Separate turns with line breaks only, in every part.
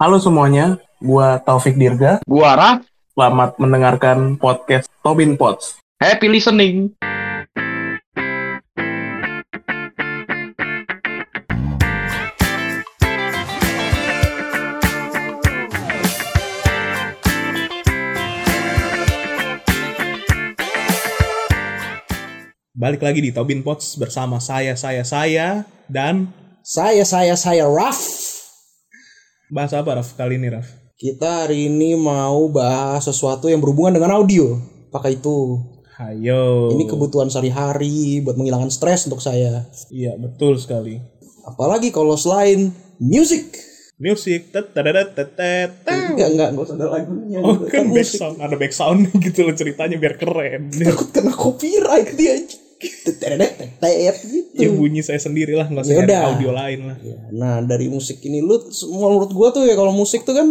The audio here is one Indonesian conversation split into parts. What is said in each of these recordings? Halo semuanya, gua Taufik Dirga.
Gua Raf,
Selamat mendengarkan podcast Tobin Pots.
happy listening.
Balik lagi di Tobin Pots bersama saya, saya, saya dan
Saya, saya, saya Raf.
bahas apa Raf kali ini Raf?
Kita hari ini mau bahas sesuatu yang berhubungan dengan audio. Pakai itu.
Hayo.
Ini kebutuhan sehari-hari buat menghilangkan stres untuk saya.
Iya betul sekali.
Apalagi kalau selain music.
Music. tet, tetedet, tetet.
Enggak, enggak, enggak usah ada lagunya.
Oh
gitu.
kan back
musik.
sound, ada back sound gitu loh ceritanya biar keren.
Takut kena copyright dia. Tetetet, tetet,
ya
gitu.
bunyi saya sendiri lah, nggak usah
Yaudah.
ada audio lain lah.
Ya, Nah, dari musik ini lu menurut gua tuh ya kalau musik tuh kan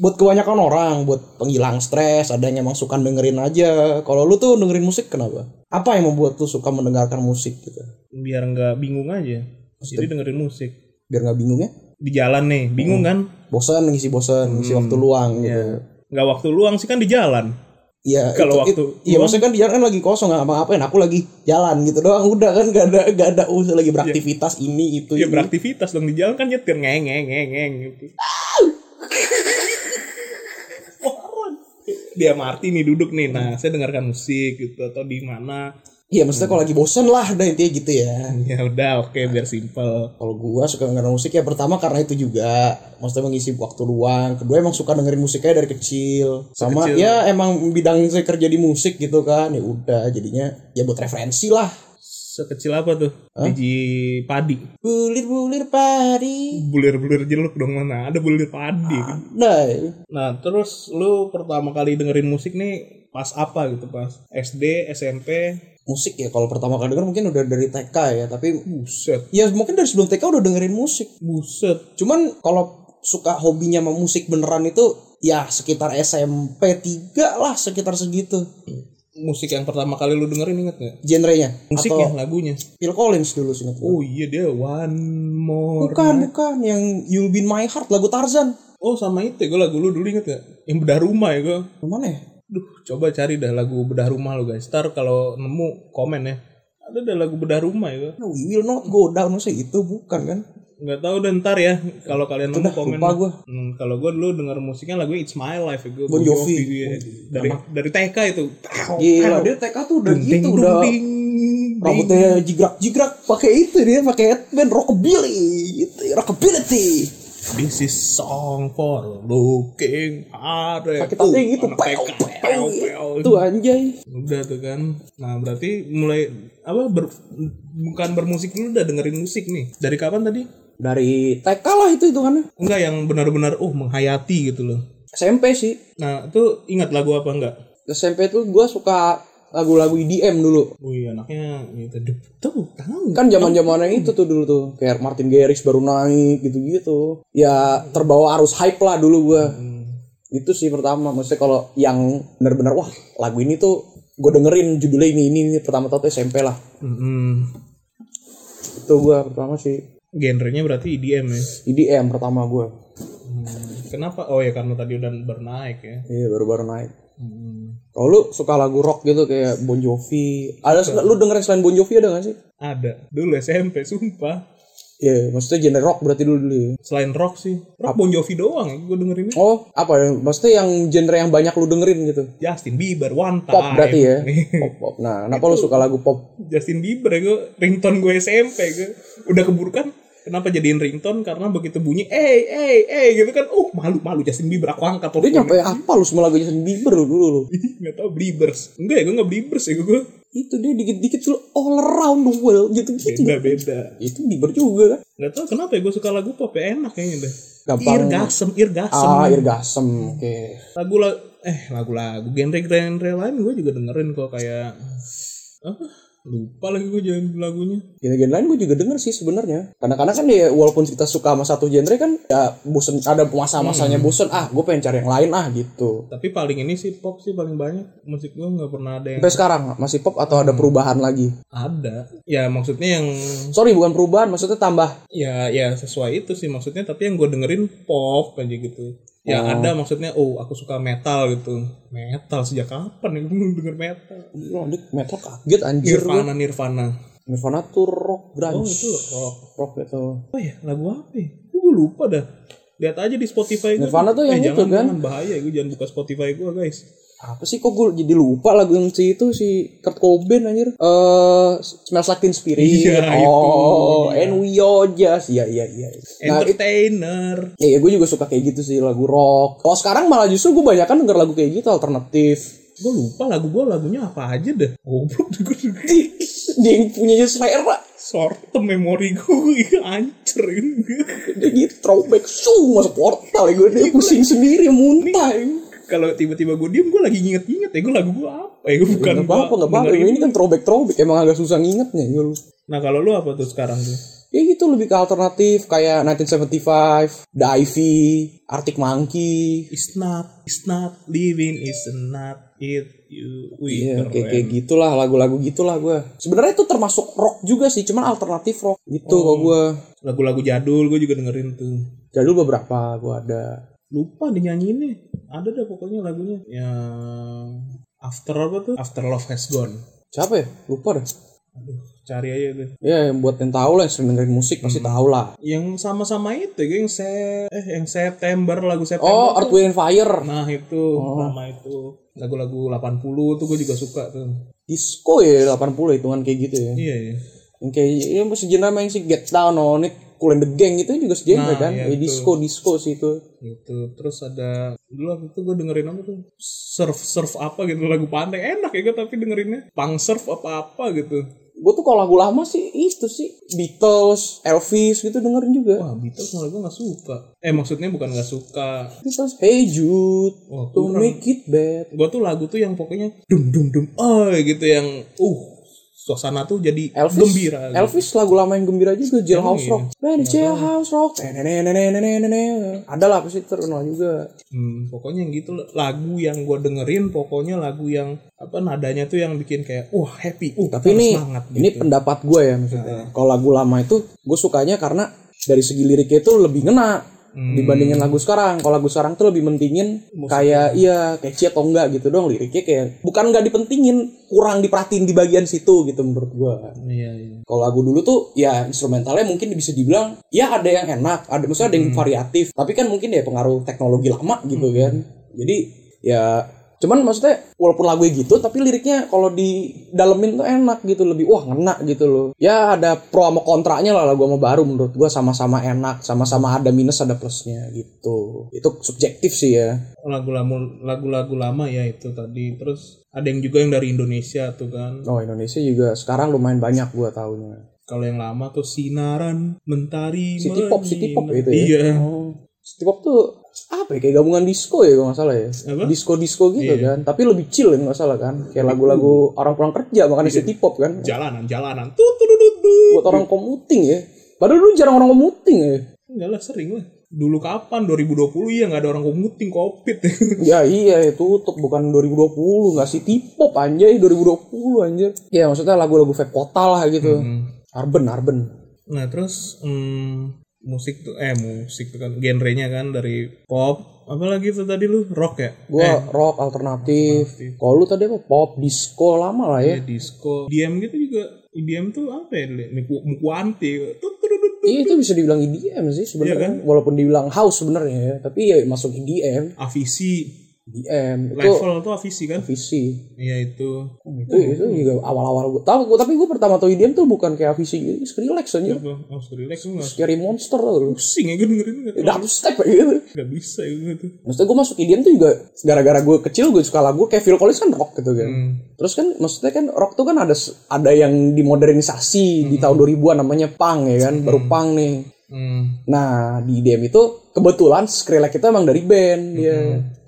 buat kebanyakan orang, buat penghilang stres, adanya masukan dengerin aja. Kalau lu tuh dengerin musik kenapa? Apa yang membuat lu suka mendengarkan musik gitu?
Biar nggak bingung aja. Jadi dengerin musik
Biar nggak bingung ya?
di jalan nih, bingung
Hmm.
kan?
Bosan ngisi bosan,
Hmm.
ngisi waktu luang gitu.
Nggak waktu luang sih kan di jalan.
Iya,
Iya. Kalau
itu-
waktu
itu- iya maksudnya kan di jalan kan lagi kosong nggak apa-apain, aku lagi jalan gitu doang udah kan gak ada gak ada usaha lagi beraktivitas ini itu
Ya
ini.
beraktivitas dong di jalan kan nyetir ngeng ngeng ngeng ngeng gitu. Orang. Dia Marti nih duduk nih. Nah, saya dengarkan musik gitu atau di mana.
Iya, maksudnya kalau lagi bosan lah udah intinya gitu ya.
Ya udah oke biar simple.
Kalau gua suka dengerin musik ya pertama karena itu juga Maksudnya mengisi waktu luang Kedua emang suka dengerin musiknya dari kecil Sama
Kecil.
ya emang bidang saya kerja di musik gitu kan Ya udah jadinya ya buat referensi lah
Sekecil apa tuh? Biji padi.
Bulir-bulir pari
Bulir-bulir jeruk dong mana? Ada bulir padi.
Ah.
kan?
Andai
Nah, terus lu pertama kali dengerin musik nih pas apa gitu pas SD, SMP,
Musik ya kalau pertama kali denger mungkin udah dari TK ya Tapi
buset,
ya mungkin dari sebelum TK udah dengerin musik
buset.
Cuman kalau suka hobinya sama musik beneran itu Ya sekitar SMP 3 lah sekitar segitu
Musik yang pertama kali lu dengerin inget gak?
Genrenya
Musiknya,
Atau
lagunya.
Phil Collins dulu sih ingat gua.
Oh iya dia One More.
Bukan, bukan. Yang You'll Be My Heart, lagu Tarzan.
Oh sama itu ya, gue lagu lu dulu inget gak? Yang bedah rumah ya gue.
Yang Mana ya?
Duh coba cari dah lagu bedah rumah lo guys. Ntar kalau nemu komen ya. Ada dah lagu bedah rumah ya gue.
No, we will not go down. Maksudnya itu bukan kan?
Nggak tahu deh ntar ya kalau kalian nemu
Udah,
komen.
lupa gue.
Hmm, kalau gue dulu denger musiknya lagu It's My Life ya gue.
Bon Jovi.
Dari dari TK itu.
Gila, dia TK tuh udah gitu. udah rambutnya jigrak-jigrak. Pakai itu dia, pakai headband. Rockabilly. Gitu, rockability.
This is song for looking hard.
Pakai tatnya gitu.
anak
Pew,
TK,
pew.
pew, pew.
Itu anjay.
udah tuh kan nah berarti mulai apa ber- bukan bermusik dulu udah dengerin musik nih dari kapan tadi
Dari TK lah itu hitungannya.
enggak yang benar-benar oh menghayati gitu loh
SMP sih.
nah itu ingat lagu apa enggak
SMP tuh gue suka lagu-lagu EDM dulu.
wih anaknya gitu Dup, tuh tahu
kan zaman zamannya itu tuh dulu tuh kayak Martin Garrix baru naik gitu gitu ya terbawa arus hype lah dulu gua itu sih pertama maksudnya kalau yang bener-bener wah lagu ini tuh gue dengerin judulnya ini ini, ini. pertama tau tuh SMP lah
Mm-mm.
itu gua pertama sih
genrenya berarti EDM ya
EDM pertama gua
Hmm, kenapa oh ya karena tadi udah bernaik ya
iya baru-baru naik
Mm-mm.
kalau lu suka lagu rock gitu kayak Bon Jovi ada lu dengerin selain Bon Jovi ada gak sih
ada dulu SMP sumpah
Iya, maksudnya genre rock berarti dulu dulu ya.
selain rock sih rock Bon Jovi doang yang gue dengerin
Oh, apa ya? Maksudnya yang genre yang banyak lu dengerin gitu.
Justin Bieber one time
pop berarti ya pop pop nah kenapa lu suka lagu pop
Justin Bieber ya gue ringtone gue SMP gue udah keburu kan kenapa jadiin ringtone karena begitu bunyi eh eh eh gitu kan uh malu malu Justin Bieber aku angkat
dia
teleponnya.
nyampe apa lu semua lagu Justin Bieber lu dulu lu
Ih, nggak tahu Bliebers enggak ya gue nggak Bliebers ya gue
itu dia dikit dikit lu all around the world gitu gitu
beda beda
itu Bieber juga kan
nggak tahu kenapa ya gue suka lagu pop ya enak kayaknya deh Ir
Gampang.
gasem, ir gasem.
ah air gasem oke
Lagu lagu eh lagu lagu genre genre lain gue juga dengerin kok kayak apa? Lupa lagi gue jalan lagunya.
Genre-genre lain gue juga denger sih sebenarnya. Kadang-kadang kan ya walaupun kita suka sama satu genre kan ya bosen ada masa-masanya
Hmm.
bosen ah gue pengen cari yang lain ah gitu.
Tapi paling ini sih pop sih paling banyak. Musik gue nggak pernah ada yang
Sampai sekarang masih pop atau ada perubahan lagi?
ada. Ya maksudnya yang
Sorry bukan perubahan maksudnya tambah.
ya ya sesuai itu sih maksudnya. Tapi yang gue dengerin pop aja gitu. Ya ada maksudnya oh aku suka metal gitu. Metal sejak kapan ya gue belum denger metal?
Gila, Dik, metal kaget anjir.
Nirvana Nirvana.
Nirvana tuh rock
Oh
grunge.
itu rock.
Rock gitu. itu.
Oh ya lagu apa? ya? Gue lupa dah. Lihat aja di Spotify gue.
Nirvana tuh yang itu,
jangan,
kan?
Jangan bahaya gue jangan buka Spotify gue guys.
Apa sih kok gue jadi lupa lagu yang si itu si Kurt Cobain anjir. Eh Smells Like Teen Spirit.
Iya,
oh, and we all just. Iya iya iya. Nah,
Entertainer.
Ya, ya gue juga suka kayak gitu sih lagu rock. Kalau sekarang malah justru gue banyak kan denger lagu kayak gitu alternatif.
Gue lupa lagu gue lagunya apa aja dah. Goblok gue
Dia yang punya Slayer pak.
Short term memori gue hancur ini.
Dia gitu throwback su masuk portal ya gue dia pusing sendiri muntah. ya.
Kalau tiba-tiba gue diem gue lagi nginget-nginget ya gue lagu gue apa ya gue bukan iya.
Gak
gua
apa-apa gak apa-apa.
dengerin.
Ini kan throwback throwback emang agak susah ngingetnya. Ya, lu.
Nah kalau lu apa tuh sekarang tuh?
ya gitu lebih ke alternatif kayak 1975, Divey, Arctic Monkey.
It's not, it's not living, it's not it you. ya. Wih,
Iya,
keren.
kayak kayak gitulah lagu-lagu gitulah gue. Sebenarnya itu termasuk rock juga sih, cuman alternatif rock
Oh.
gitu kalau gue.
Lagu-lagu jadul gue juga dengerin tuh.
Jadul beberapa gue ada.
lupa dinyanyiinnya ada dah pokoknya lagunya yang after apa tuh after love has gone
siapa ya lupa dah
aduh cari aja tuh
ya yang buat yang tahu lah yang sering dengerin musik pasti
Hmm.
tahu lah
yang sama-sama itu ya, yang se eh yang September lagu
oh
September
Earth Wind and Fire
nah itu sama itu lagu-lagu 80 tuh gue juga suka tuh
disco ya 80 hitungan kayak gitu ya
iya iya
yang kayak ya sejenis main sih Get Down On It Cool and the Gang itu juga sejenis
Nah,
kan
iya,
ya,
betul.
disco disco sih itu
gitu terus ada dulu waktu itu gue dengerin apa tuh surf surf apa gitu lagu pandai enak ya gue tapi dengerinnya pang surf apa apa gitu
gue tuh kalau lagu lama sih itu sih Beatles Elvis gitu dengerin juga
wah Beatles malah gue nggak suka eh maksudnya bukan nggak suka
Beatles Hey Jude
Wah,
To Make It Bad
gue tuh lagu tuh yang pokoknya dum dum dum oh gitu yang uh suasana tuh jadi
Elvis,
gembira gitu.
Elvis lagu lama yang gembira juga Jailhouse
iya.
Rock. Man, Jailhouse Rock. Nenenenenenenenen. Ada lah pasti terkenal juga.
Hmm, pokoknya yang gitu lagu yang gue dengerin pokoknya lagu yang apa nadanya tuh yang bikin kayak wah happy uh
Tapi ini
semangat gitu.
ini pendapat gue ya maksudnya. Kalau lagu lama itu gue sukanya karena dari segi liriknya itu lebih ngena dibandingin lagu sekarang. Kalau lagu sekarang tuh lebih mentingin kayak iya catchy atau enggak gitu dong liriknya kayak bukan nggak dipentingin, kurang diperhatiin di bagian situ gitu menurut gue.
iya iya
Kalau lagu dulu tuh ya instrumentalnya mungkin bisa dibilang ya ada yang enak, ada maksudnya ada yang variatif, tapi kan mungkin ya pengaruh teknologi lama gitu kan. Jadi ya cuman maksudnya walaupun lagunya gitu tapi liriknya kalau di dalemin tuh enak gitu lebih wah ngena gitu loh ya ada pro sama kontranya lah lagu sama baru menurut gua sama-sama enak sama-sama ada minus ada plusnya gitu itu subjektif sih ya
lagu lagu lagu-lagu lama ya itu tadi terus ada yang juga yang dari Indonesia tuh kan
oh Indonesia juga sekarang lumayan banyak gua taunya
kalau yang lama tuh sinaran mentari
City pop, city pop
menyinar.
gitu ya?
iya
Oh. City pop tuh apa ya kayak gabungan disco ya kalau nggak salah ya
Apa? Iya.
disco disco gitu kan tapi lebih chill ya nggak salah kan kayak lagu-lagu orang pulang kerja makanya
Iya.
city pop kan
jalanan jalanan tuh tuh tuh, tuh tuh
buat orang commuting ya padahal dulu jarang orang commuting ya
Enggak lah sering lah. Dulu kapan? 2020 iya nggak ada orang commuting covid.
ya iya ya tutup bukan 2020 nggak city pop anjay 2020 anjir ya maksudnya lagu-lagu vape kota lah gitu
Hmm.
arben arben
nah terus hmm, musik tuh eh musik tuh kan genrenya kan dari pop apalagi itu tadi lu rock ya?
gua rock alternatif kalau lu tadi apa pop disco lama lah ya
Eh, disco. IDM gitu juga IDM tuh apa ya? Li? Muku, mukuanti. Tut, tut, tut, tut.
Iya itu bisa dibilang EDM sih
Iya
sebenarnya
kan?
walaupun dibilang house sebenarnya ya, tapi ya masuk EDM,
Avisi
EDM E itu
level tuh avisi kan?
visi.
Iya itu.
Itu itu juga awal-awal gue tahu gua- tapi gue pertama tahu EDM tuh bukan kayak visi gitu, Skrillex aja.
Apa? Oh, relax lu nggak
Scary Monster tuh lu.
pusing ya gue dengerin nggak tahu.
Dubstep ya gitu.
Nggak bisa ya gue tuh.
Maksudnya gue masuk EDM tuh juga gara-gara gue kecil gue suka lagu kayak Phil Collins kan rock gitu kan.
Hmm.
Terus kan maksudnya kan rock tuh kan ada ada yang dimodernisasi di tahun 2000-an namanya punk ya kan, baru punk nih.
Hmm.
Nah di IDM itu kebetulan Skrillex itu emang ya. dari band dia.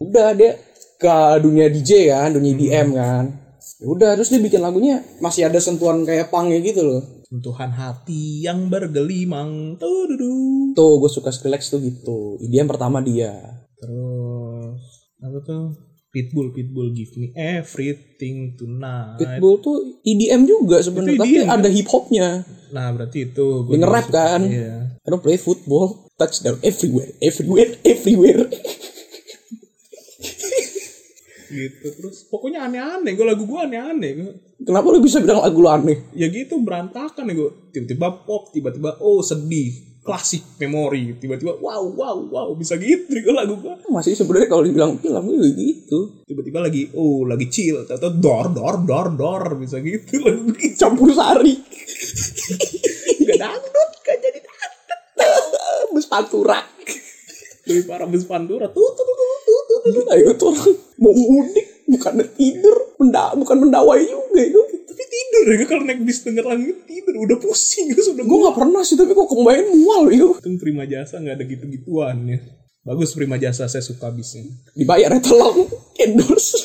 Udah dia ke dunia DJ kan, dunia IDM kan. Ya udah terus dia bikin lagunya masih ada sentuhan kayak punk gitu loh.
Sentuhan hati yang bergelimang. Tududu.
Tuh gue suka Skrillex tuh gitu. Dia yang pertama dia.
Terus apa tuh? Pitbull, Pitbull give me everything tonight.
Pitbull tuh EDM juga sebenarnya
Itu
tapi
EDM,
ada hip hopnya.
Nah, berarti itu
Dia
gue
nge-rap kan.
Iya.
I don't play football. Touchdown everywhere, everywhere, everywhere.
Gitu. Terus pokoknya aneh-aneh. Gue lagu gue aneh-aneh. Gua-
Kenapa lu bisa bilang lagu lu aneh?
Ya gitu berantakan ya gue. Tiba-tiba pop, tiba-tiba oh sedih. Klasik memori. Tiba-tiba wow wow wow bisa gitu gue lagu gue.
Masih sebenarnya kalau dibilang film itu gitu.
Tiba-tiba lagi oh lagi chill. Tahu-tahu dor dor dor dor bisa gitu lagu gitu.
Campur sari.
Gak dangdut gak jadi dangdut.
Bersatu rak.
Lebih parah bis Pandora. Tuh tuh tuh tuh tuh, tuh.
Gila itu tuh orang mau mudik bukan tidur, menda, bukan mendawai juga itu.
Tapi tidur ya gue kalau naik bis denger lagu tidur udah pusing gue sudah
Gue nggak pernah sih tapi kok kebayang mual itu.
Untung Prima Jasa nggak ada gitu-gituan ya. Bagus Prima Jasa, saya suka bisnya.
Dibayar ya tolong endorse.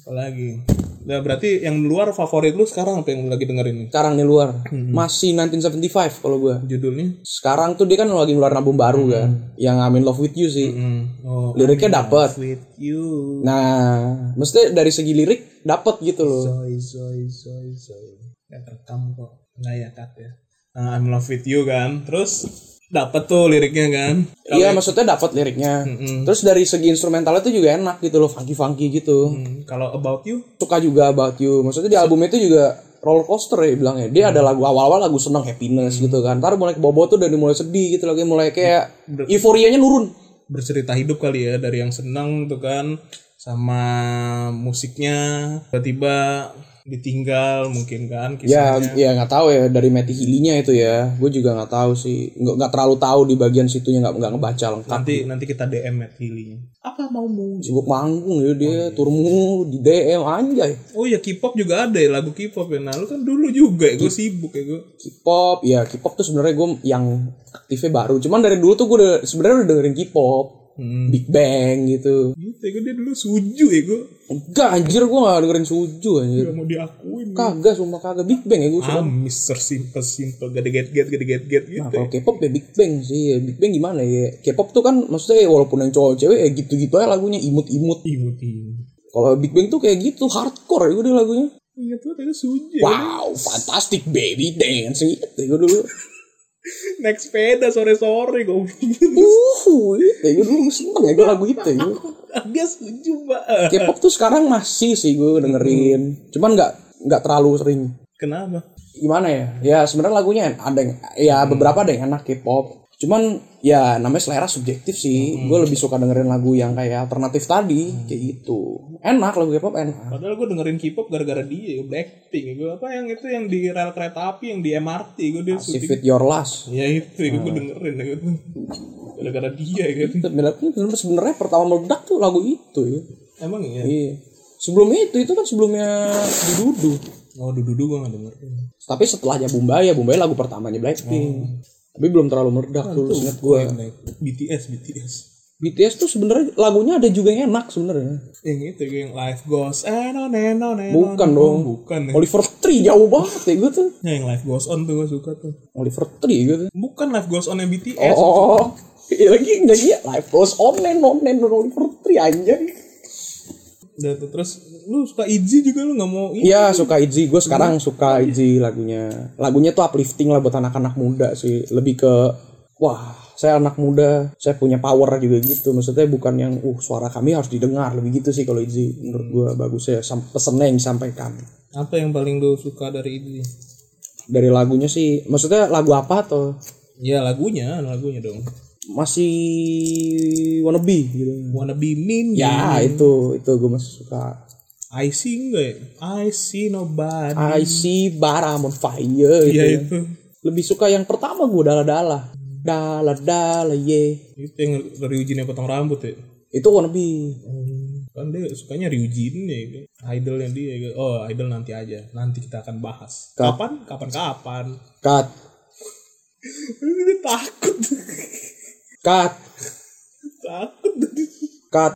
Apalagi. Nah, berarti yang luar favorit lu sekarang apa yang lu lagi dengerin nih?
Sekarang nih luar
Hmm.
masih 1975 kalau gue.
Judulnya?
Sekarang tuh dia kan lagi ngeluarin album baru kan, yang I'm in love with you sih.
Hmm. Oh,
Liriknya dapet.
With you.
Nah, mesti dari segi lirik dapet gitu loh.
Zoy, zoy, zoy, zoy. Gak terekam kok. Nggak ya, Kat ya. Nah, I'm in love with you kan. Terus dapet tuh liriknya kan.
Iya maksudnya dapet liriknya.
Hmm.
Terus dari segi instrumentalnya tuh juga enak gitu loh, funky funky gitu.
Hmm, Kalau about you?
suka juga About You. Maksudnya di album itu juga roller coaster ya bilangnya. Dia
Hmm.
ada lagu awal-awal lagu seneng happiness gitu kan. Ntar mulai ke bobo tuh dan mulai sedih gitu lagi mulai kayak euforianya nurun.
bercerita hidup kali ya dari yang senang tuh kan sama musiknya tiba-tiba ditinggal mungkin kan kisah
Ya, ya nggak tahu ya dari Matty Healy-nya itu ya. Gue juga nggak tahu sih. Nggak nggak terlalu tahu di bagian situnya nggak nggak ngebaca lengkap.
nanti nanti kita DM Matt Healy apa maumu
Sibuk manggung ya dia,
iya.
tur mulu di DM anjay.
oh ya K-pop juga ada ya lagu K-pop ya nah lu kan dulu juga ya gue
Iya.
sibuk ya gue
K-pop, ya K-pop tuh sebenarnya gue yang aktifnya baru. Cuman dari dulu tuh gue udah sebenarnya udah dengerin K-pop,
Hmm.
Big Bang gitu.
gitu ya gue dia dulu suju ya gue
Enggak anjir gue gak dengerin Suju anjir.
gak mau diakuin gua.
Kagak, sumpah kagak Big Bang ya gue suka.
ah Mister Simple Simple gak ada get get gak ada get get gitu
Nah, kalau K-pop ya Big Bang sih. Ya. Big Bang gimana ya? K-pop tuh kan maksudnya ya walaupun yang cowok cewek ya gitu-gitu aja lagunya imut-imut.
imut imut
Kalau Big Bang tuh kayak gitu, hardcore ya udah lagunya.
ingat tuh tadi suju ya.
Wow, fantastic baby dance gitu ya gue dulu.
naik sepeda sore sore gue
Uh, ya gue dulu seneng ya gue lagu itu ya.
dia suju mbak
K-pop tuh sekarang masih sih gue dengerin. Cuman nggak nggak terlalu sering.
kenapa
gimana ya ya sebenarnya lagunya en- ada yang ya beberapa ada yang enak K-pop cuman ya namanya selera subjektif sih gue lebih suka dengerin lagu yang kayak alternatif tadi kayak gitu enak lagu K-pop enak
Padahal gue dengerin K-pop gara-gara dia, ya, Blackpink. Gue apa yang itu yang di rel kereta api, yang di MRT. Gue dia
si
syuting.
Fit Your Last
Ya itu, gue dengerin. Gitu. Gara-gara dia gitu.
Itu bener- bener- sebenarnya pertama meledak tuh lagu itu ya
Emang ya?
iya sebelumnya itu itu kan sebelumnya di Dudu
Oh, dudu-dudu gue gak dengerin.
tapi setelahnya Bumbaya Bumbaya lagu pertamanya Blackpink tapi belum terlalu meledak dulu ingat gue
Naik BTS, BTS.
BTS tuh sebenarnya lagunya ada juga yang enak sebenarnya
Yang itu, gue yang Life Goes On, on, and on, and on.
Bukan dong.
Bukan. Ya.
Oliver Tree jauh banget ya gue tuh.
Ya, yang Life Goes On tuh gue suka tuh.
Oliver Tree gitu.
Bukan Life Goes On yang BTS.
Oh, oh, oh. Iya lagi lagi ya live goes on and on and on Oliver Tree aja.
Udah tuh, terus lu suka Izzy juga lu gak mau ini.
Iya suka Izzy, gue sekarang suka Izzy lagunya. Lagunya tuh uplifting lah buat anak-anak muda sih. Lebih ke wah saya anak muda, saya punya power juga gitu. Maksudnya bukan yang uh suara kami harus didengar lebih gitu sih kalau Izzy. Menurut gue bagus ya sam- pesennya yang disampaikan.
Apa yang paling lu suka dari Izzy?
Dari lagunya sih, maksudnya lagu apa tuh?
Ya lagunya, lagunya dong.
Masih wannabe gitu.
Wanna be mean
Ya itu itu gue masih suka.
I see enggak ya? I see nobody.
I see Baramon Fire
Hmm. Iya
Ah, gitu.
itu.
Lebih suka yang pertama gue Dala Dala. Dala Dala ye.
Itu yang Ryujin yang potong rambut ya.
Itu wannabe.
Kan dia sukanya Ryujin ya. gitu. Idolnya dia. gitu. Oh idol nanti aja. Nanti kita akan bahas. Kapan? Kapan? Kapan?
Cut.
Dia takut.
Cut.
takut.
Cut.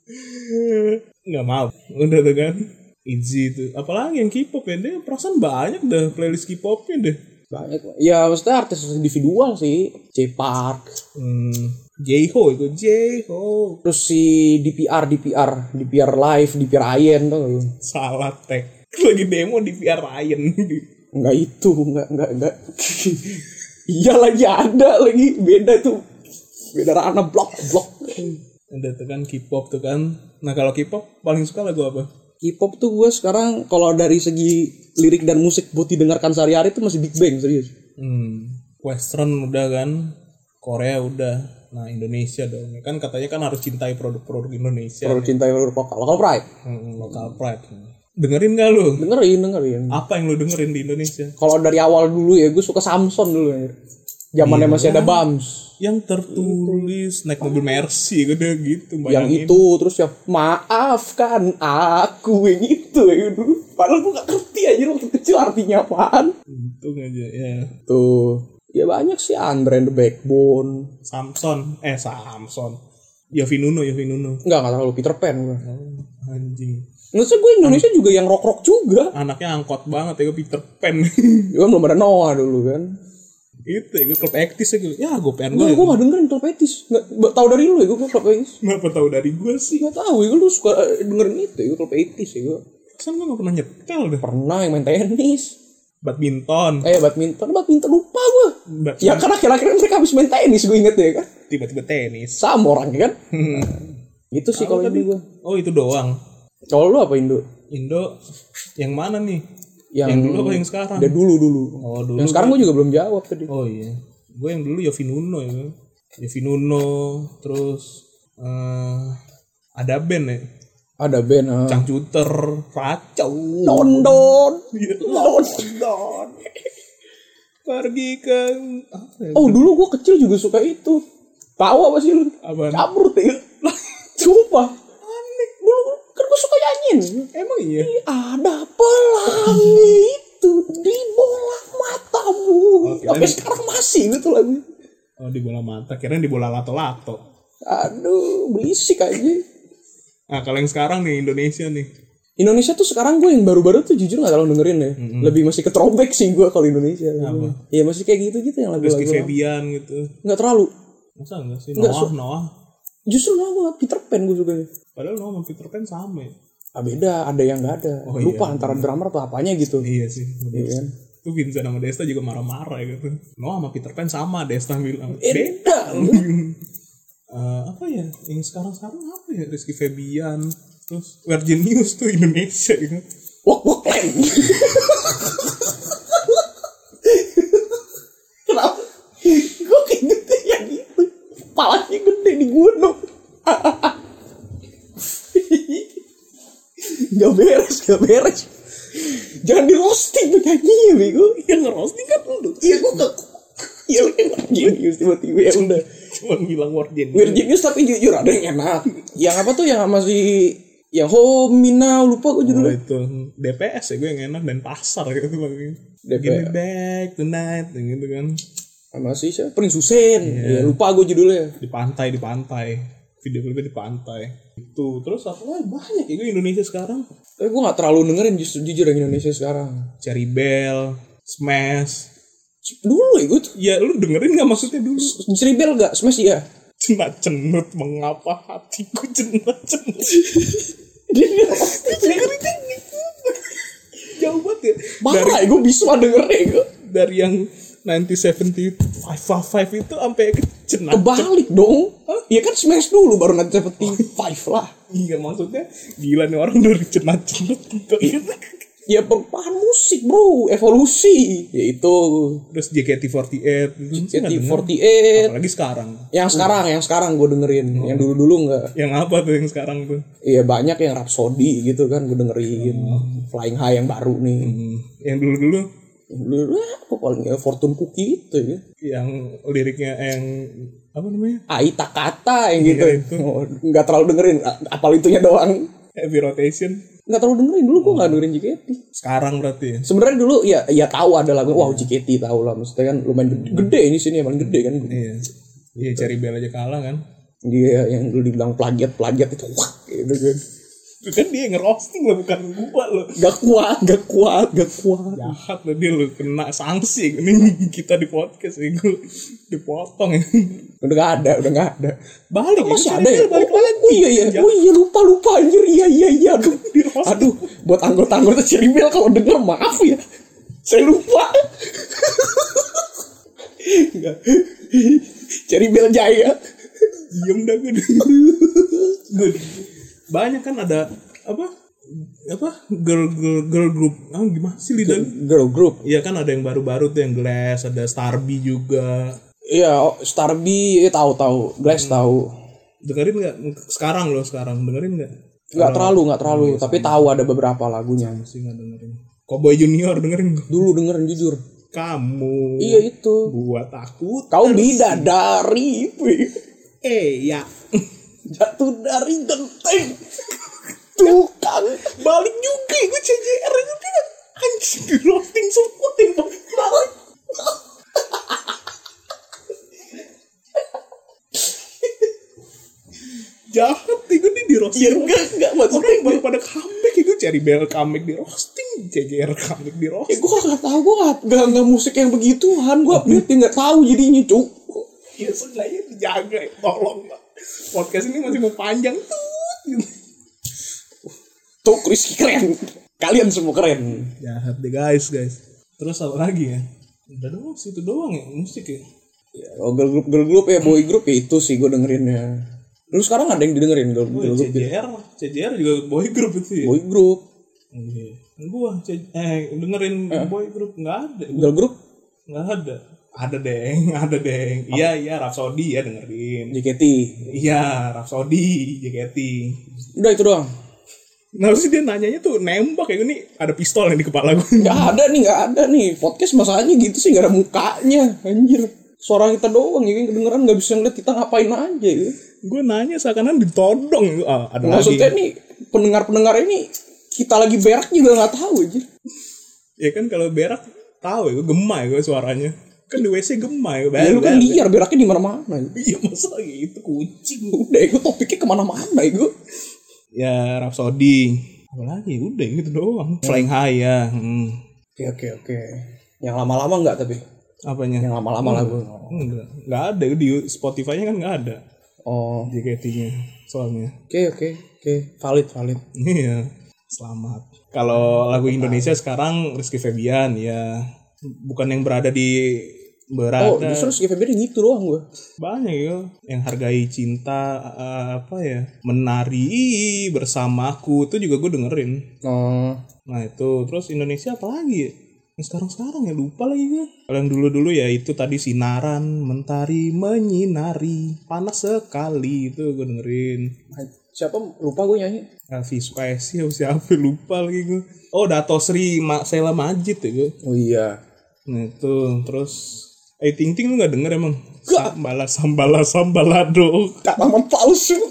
Nggak mau. Udah tuh kan. Izzy itu apalagi yang K-pop ya dia perasaan banyak dah playlist K-popnya deh
banyak ya maksudnya artis individual sih C Park
hmm, J-Ho itu J-Ho
terus si DPR DPR DPR Live DPR Ayen tuh
salah tag lagi demo di VR Ryan
nggak itu nggak nggak nggak iya lagi ada lagi beda tuh beda ranah blok blok
ada tuh kan K-pop tuh kan nah kalau K-pop paling suka lagu apa
K-pop tuh gue sekarang kalau dari segi lirik dan musik buat didengarkan sehari-hari tuh masih Big Bang serius
hmm, Western udah kan Korea udah nah Indonesia dong kan katanya kan harus cintai produk-produk Indonesia
perlu cinta yang perlu lokal lokal pride
Hmm, local pride dengerin gak lu
dengerin dengerin
apa yang lu dengerin di Indonesia
kalau dari awal dulu ya gue suka Samson dulu ya zamannya masih ada Bams
yang tertulis naik mobil Mercy gitu gitu
yang
bayangin.
itu terus ya maafkan aku yang itu yang dulu padahal gue gak ngerti aja waktu kecil artinya apaan
untung aja ya
tuh ya banyak sih Andre and the Backbone
Samson eh Samson Yovie Nuno Yovie Nuno
nggak nggak terlalu Peter Pan gue
Oh, anjing
maksudnya gue Indonesia juga yang rock rock juga
anaknya angkot banget ya gue Peter Pan
gue belum ada Noah dulu kan
itu ya gue klub aktis ya gue ya gue pengen gue
gue gue gak dengerin Club Etis nggak ba- tahu dari lu ya gue Club Etis
kenapa tahu dari gue sih
nggak tahu ya lu suka eh, dengerin itu ya gue Club Etis ya gue
kan gue gak pernah nyetel deh
pernah yang main tenis
badminton
eh badminton badminton lupa gue
Badminton.
ya karena akhir-akhir mereka habis main tenis gue inget ya kan
tiba-tiba tenis
sama orangnya kan itu sih kalau Indo gue
oh itu doang
kalau lu apa Indo
Indo yang mana nih
yang,
yang dulu apa yang sekarang
udah dulu dulu
oh dulu
yang sekarang gue juga belum jawab tadi
Oh iya, gue yang dulu Yofi Nuno ya, Yofi Nuno, terus eh ada band ya,
ada band ah.
Cangcuter, Racau,
London
Iya,
London
pergi ke apa ya?
oh dulu gue kecil juga suka itu tahu apa sih lu
Apaan?
cabur tuh sumpah aneh dulu kan gue suka nyanyiin
Emang iya,
ada pelangi itu di bola matamu
Oke,
tapi
lanjut.
sekarang masih gitu lagu
oh di bola mata, kirain di bola lato-lato.
aduh berisik aja
Nah kalau yang sekarang nih Indonesia nih,
Indonesia tuh sekarang gue yang baru-baru tuh jujur gak terlalu dengerin ya. Lebih masih ke throwback sih gue kalau Indonesia. Iya masih kayak gitu-gitu yang
Rizky
lagu-lagu.
Febian gitu,
Gak terlalu.
masa enggak sih
Enggak,
Noah Noah,
Justru lah gue Peter Pan gue suka.
padahal Noah sama Peter Pan sama ya.
Ah beda, ada yang gak ada.
Oh,
Lupa antara drummer atau apanya gitu.
Iya sih, bener.
Iya kan?
Itu Vincent sama Desta juga marah-marah ya gitu. Noah sama Peter Pan sama Desta bilang. Beda.
Beda.
Eh, apa ya yang sekarang sekarang apa ya Rizky Febian terus Virgin News tuh Indonesia gitu
Wok wok leng. Kenapa? Gue keingetnya yang gitu. Palanya gede di gunung. gak beres, gak beres. Jangan di roasting tuh nyanyinya, Bego. Yang roasting kan lu. Iya, gue gak... Iya, lu yang genius tiba-tiba ya udah.
cuma bilang Virgin News
Weird Genius tapi jujur ada yang enak. Yang apa tuh yang masih... Yang Home Me Now, lupa gue judulnya.
Oh, itu DPS ya gue yang enak dan pasar gitu lagi Give me
DPS.
back tonight gitu kan
sama si siapa Prince Hussein ya, lupa gue judulnya
di pantai di pantai video klipnya di pantai itu terus apa lagi banyak ya gue Indonesia sekarang
tapi gue gak terlalu dengerin justru jujur yang Indonesia sekarang
Cherry Bell Smash
dulu ya gue tuh
ya lu dengerin nggak maksudnya dulu
Ceribel gak smash ya
cena cenut mengapa hatiku cena cenut
dia dia pasti dengerin
jauh banget ya
parah ya gue bisa dengerin gue
dari yang 1975 55 itu sampai ke Cina.
Nah, kebalik dong ya kan smash dulu baru nanti seventy five lah
Iya maksudnya gila nih orang dari Cina Cina
ya perubahan musik bro evolusi ya itu
Terus JKT48 itu mesti nggak denger.
JKT48
Apalagi sekarang
yang sekarang yang sekarang gue dengerin yang dulu dulu nggak
Yang apa tuh yang sekarang tuh
Iya banyak yang Rhapsody gitu kan gue dengerin Flying High yang baru nih
Hmm, Yang dulu-dulu
Dulu apa paling ya Fortune Cookie itu ya.
Yang liriknya eh, yang Apa namanya
Ai Takata yang gitu.
Iya, itu.
Oh, nggak terlalu dengerin, a- apal itunya doang.
Heavy Rotation
Nggak terlalu dengerin dulu gua nggak dengerin JKT.
Sekarang berarti ya
Sebenarnya dulu ya ya tahu ada lagu wah
Iya.
JKT tahu lah maksudnya kan lumayan gede, gede ini sini yang paling gede kan.
Iya Iya cari bel aja kalah kan
Dia yang dulu dibilang plagiat plagiat itu wah gitu kan.
Itu kan dia yang ngerosting lo bukan gua lo.
Gak kuat, gak kuat, gak kuat.
Jahat lo dia lo kena sanksi. Ini kita di podcast ya gua dipotong ya.
Udah gak ada, udah gak ada.
Balik ya,
Masih
kan
ada
dia
ya? Oh,
Balik lagi.
oh iya iya, oh iya lupa lupa anjir. Iya iya iya. Aduh,
Di roasting.
aduh buat anggota-anggota Cirimel kalau denger maaf ya. Saya lupa. Enggak. Cirimel Jaya.
Diem dah gue. Gua di- Banyak kan ada apa? Apa girl girl girl group. Ah gimana sih lidah? lu?
Girl group.
Iya kan ada yang baru-baru tuh yang Glass, ada Starby juga.
Iya, oh, Starby ya, tahu tahu, Glass tahu.
Dengerin nggak sekarang lo sekarang dengerin nggak?
Enggak terlalu, enggak terlalu, tapi tahu ada beberapa lagunya.
Masih nggak dengerin. Cowboy Junior dengerin nggak?
Dulu dengerin jujur.
kamu
Iya itu.
buat aku
Kau bidadari dari
eh ya
jatuh dari genteng tukang
balik juga ya, gue CJR itu dia kan anjing di roasting semua yang balik balik jahat nih gue nih di roasting
ya enggak enggak
orang yang
maksudnya
baru pada comeback ya gue cari bel comeback di roasting CJR comeback di
ya
roasting
gue nggak tahu gue nggak nggak nggak musik yang begituan gue update nggak tahu jadinya cuk
ya seenggaknya dijaga ya. tolong lah podcast ini masih mau panjang tuh gitu.
tuh Rizky keren kalian semua keren
jahat deh guys guys terus apa lagi ya udah doang situ doang ya musik ya
ya, oh, girl group girl group ya boy group ya itu sih gue dengerinnya lu sekarang ada yang didengerin girl, girl group
CJR CJR juga boy group itu ya
boy group
Iya. gua C- eh dengerin boy group nggak ada
girl group
nggak ada ada deng ada deng iya iya Rhapsody ya dengerin
JKT
iya Rhapsody JKT
udah itu doang
Nah, sih dia nanyanya tuh nembak ya ini ada pistol yang di kepala gue.
nggak ada nih nggak ada nih podcast masalahnya gitu sih nggak ada mukanya anjir suara kita doang ya kedengeran nggak bisa ngeliat kita ngapain aja ya.
gue nanya seakan-akan ditodong. Ah, ada
maksudnya
lagi.
nih pendengar-pendengar ini kita lagi berak juga nggak tahu aja
Ya kan kalau berak tahu ya gue gemah ya gue suaranya. Kan di WC gemah ya.
ya
berak-
lu kan
berak.
liar beraknya di mana-mana ya.
Iya masa itu kucing
udah itu topiknya kemana-mana ya gue
Ya Rhapsody Apa lagi udah gitu doang Flying High ya hmm.
oke oke oke yang lama-lama nggak tapi Oh.
Apanya?
yang lama-lama lah gue
Enggak Enggak ada di Spotify nya kan enggak ada
oh oke
JKT nya soalnya
oke oke valid valid
Iya Selamat Kalau lagu Indonesia sekarang Rizky Febian ya Bukan yang berada di
oh
Berada
justru si Febri gitu doang gue
Banyak ya Yang hargai cinta eh, Apa ya Menari Bersamaku Itu juga gue dengerin
oh
Nah itu terus Indonesia apa lagi ya? Yang sekarang-sekarang ya lupa lagi gue. Kalau yang dulu-dulu ya itu tadi sinaran mentari menyinari panas sekali itu gue dengerin. Nah,
siapa lupa gue nyanyi
Elvi Sukaisi apa ya, siapa lupa lagi gue. Oh Dato Sri Ma Sela Majid ya gue.
oh iya
Nah itu terus Eh Ting Ting lu gak denger emang?
Gak.
Sambala sambala sambalado.
kataman palsu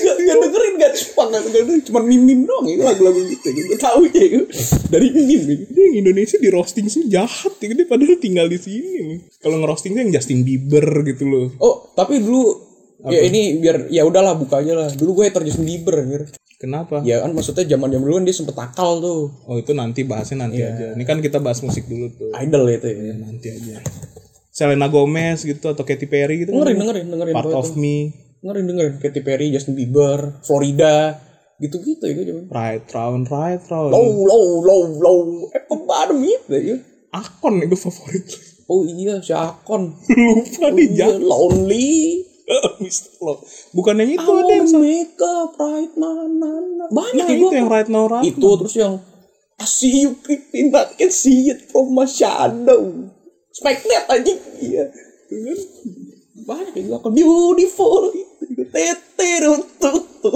Gak, gak dengerin gak cuma gak, gak dengerin cuma mimin doang itu lagu-lagu gitu gue tahu ya itu dari mimin gitu.
Dia yang Indonesia di roasting sih jahat ya. Dia padahal tinggal di sini. Kalau ngerosting tuh yang Justin Bieber gitu loh.
oh tapi dulu ya ini biar ya udahlah buka aja lah dulu gue hater Justin Bieber anjir.
Kenapa?
ya kan maksudnya zaman zaman dulu kan dia sempet nakal tuh
Oh itu nanti bahasnya nanti
Iya.
aja. Ini kan kita bahas musik dulu tuh. Iya,
idol itu ya
Nanti aja. Selena Gomez gitu atau Katy Perry gitu.
dengerin dengerin dengerin
Part
gue
of me,
dengerin dengerin Katy Perry Justin Bieber Florida gitu-gitu ya gue zaman
right round, right round.
low low low low apa bottom gitu ya
Akon itu favorit.
oh iya si Akon
Lupa nih
Iya,
jangan.
lonely
Mister Lo. Bukan yang itu
Oh,
ada.
make up right now, na, na. Banyak
Nah,
ya,
itu
gua.
yang right now right.
Itu terus yang I see you creeping but can see it from my shadow. Spagnet aja. Iya. Banyak yang gua beautiful. Tete tutu.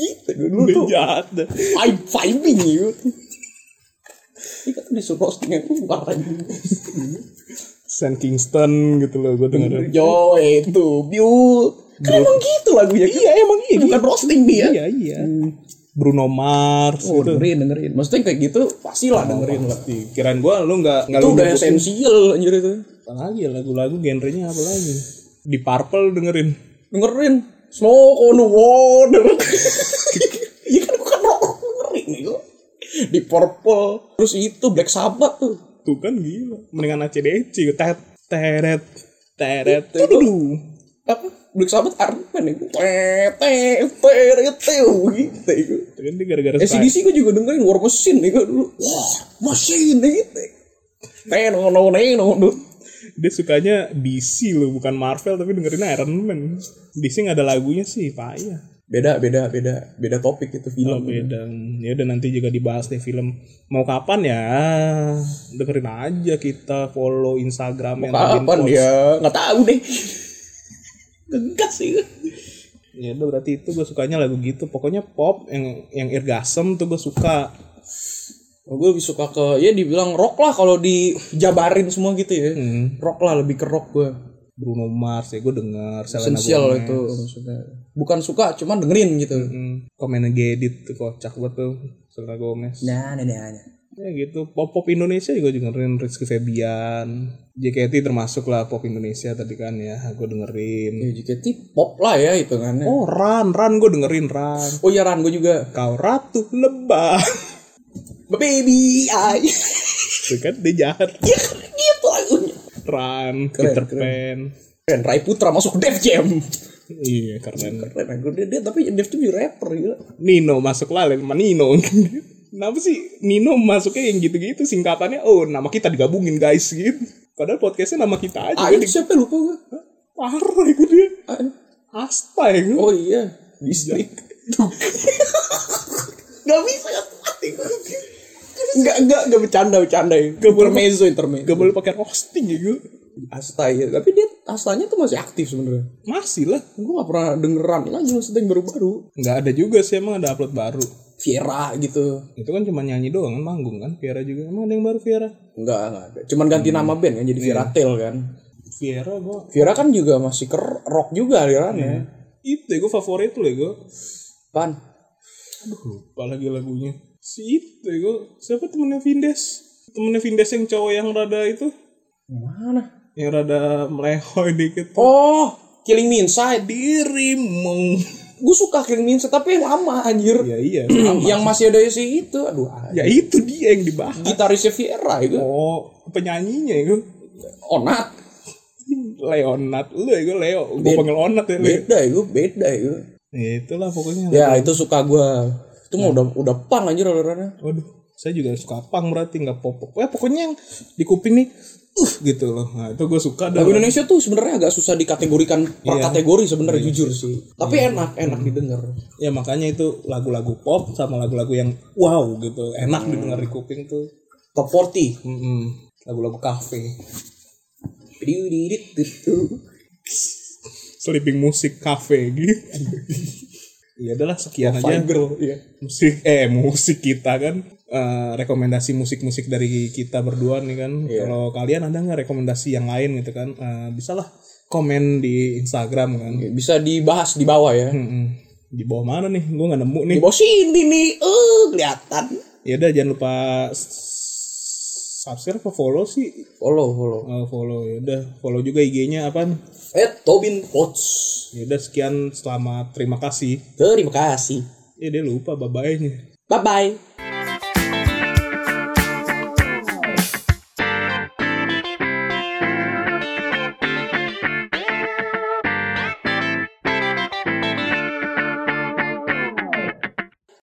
Gitu dulu
Udah
tuh.
jahat dah.
Five fiving gitu. Ini kan disuruh roasting yang keluar aja.
San Kingston gitu loh gue dengerin.
Yo itu beaut. Kan emang gitu lagunya. Iya emang iya. Bukan roasting dia.
Iya iya. Bruno Mars
Oh,
gitu.
dengerin, dengerin. Maksudnya kayak gitu pasti lah dengerin lah.
Pasti. Kirain gue lu nggak nggak
Itu
lu
udah
nyebutin.
esensial anjir itu.
Apa lagi ya, lagu-lagu genrenya apa lagi? Di Purple dengerin.
Dengerin. Smoke on the water. Iya kan bukan rock ngeri nih kok. Di Purple, terus itu Black Sabbath tuh.
Tuh kan gila. Mendingan ACDC. Tet, teret, teret.
Itu
Tuduh.
Apa? Black Sabbath Iron Man ya. Tete, tete, gitu. ya.
Tuh kan dia gara-gara Spice.
SCDC gue juga dengerin War Machine nih gue dulu. Wah, Machine gitu. Neno, neno, neno.
Dia sukanya DC loh, bukan Marvel tapi dengerin Iron Man. DC nggak ada lagunya sih, payah.
Beda, beda, beda. Beda topik itu
Oh,
film.
beda. Ya udah nanti juga dibahas deh film. Mau kapan ya? Dengerin aja kita follow Instagramnya Rajin
Kapan
Post.
dia? Nggak tahu deh. Ngegas sih gue.
Ya udah berarti itu gue sukanya lagu gitu. Pokoknya pop yang yang irgasem tuh gue suka.
Oh, gue lebih suka ke ya dibilang rock lah kalau dijabarin semua gitu ya.
Hmm.
Rock lah lebih ke rock gue.
Bruno Mars ya gue denger. Selena
Esensial
Gomez.
itu maksudnya. Bukan suka cuman dengerin gitu.
Hmm. Komen Gedit tuh kocak banget tuh. Selena Gomez.
Nah, nah, nah, nah.
Ya gitu, pop-pop Indonesia juga dengerin Rizky Febian JKT termasuk lah pop Indonesia tadi kan ya, gue dengerin
Ya JKT pop lah ya hitungannya.
Oh Ran, Ran gue dengerin Ran
Oh iya Ran gue juga.
Kau ratu lebah
Baby I.
Tuh kan dia jahat
ya kan gitu lagunya.
Ran,
Keren,
Peter
keren.
Pan
Keren Rai Putra masuk Def Jam.
Iya keren
Keren anjir dia, dia tapi Def Jam jadi rapper gila.
Nino masuk lah sama Nino Kenapa sih Nino masuknya yang gitu-gitu singkatannya Oh nama kita digabungin guys gitu Padahal podcastnya nama kita aja
Ayo siapa lupa gue.
Parah itu dia
Ayo.
Asta ya gue
Oh iya, distrik. gak bisa gak mati Enggak, enggak, enggak bercanda, bercanda ya. Intermezzo, intermezzo.
Gak boleh pakai roasting ya gue
Asta ya. Tapi dia Astanya tuh masih aktif sebenarnya.
Masih lah
Gue gak pernah dengeran lagi maksudnya yang baru-baru.
nggak ada juga sih emang ada upload baru
Viera gitu.
itu kan cuma nyanyi doang kan manggung kan Viera juga emang ada yang baru Viera
Enggak, enggak ada. Cuman ganti nama
Hmm.
band kan jadi
Iya.
Viera Tail kan.
Viera gua
Viera kan juga masih ker rock juga alirannya.
itu ya gua favorit lu ya gua
Pan.
aduh lupa lagi lagunya si itu ya gua siapa temennya Vindes temennya Vindes yang cowok yang rada itu
Mana?
yang rada melehoy dikit
Oh, Killing Me Inside.
dirimu
Gue suka Killing Me Inside tapi yang lama anjir. Hmm,
ya iya
yang masih ada si itu. Aduh,
ya itu dia yang dibahas
gitarisnya Viera itu
oh penyanyinya ya gua
onat
Leonat lu ya gua Leo gua panggil Onat ya Leo
beda itu beda itu
ya itulah pokoknya
ya itu suka gua itu
Hmm.
mah udah udah pang anjir alirannya
Waduh, saya juga suka pang berarti nggak pop pop. Eh, pokoknya yang di kuping nih, uh gitu loh. Nah, itu gue suka
lagu
dan
Indonesia tuh sebenarnya agak susah dikategorikan per
Iya.
kategori sebenarnya jujur sih tapi enak enak didengar
ya makanya itu lagu-lagu pop sama lagu-lagu yang wow gitu, enak didengar di kuping tuh.
top 40
Mm-mm. Lagu-lagu kafe, sleeping musik kafe gitu. ya adalah sekian aja
Girl, iya.
musik eh musik kita kan Eh, rekomendasi musik-musik dari kita berdua nih kan kalau kalian ada nggak rekomendasi yang lain gitu kan Eh, bisalah komen di Instagram kan
bisa dibahas di bawah ya
Mm-mm. Di bawah mana nih? Gue nggak nemu nih.
di bawah sini nih eh kelihatan
Ya udah jangan lupa s- subscribe apa follow sih?
follow follow
Oh, follow ya udah follow juga IG-nya apa?
eh Tobin Potts
Ya udah sekian selamat terima kasih.
terima kasih
Ya dia lupa bye-bye-nya.
bye bye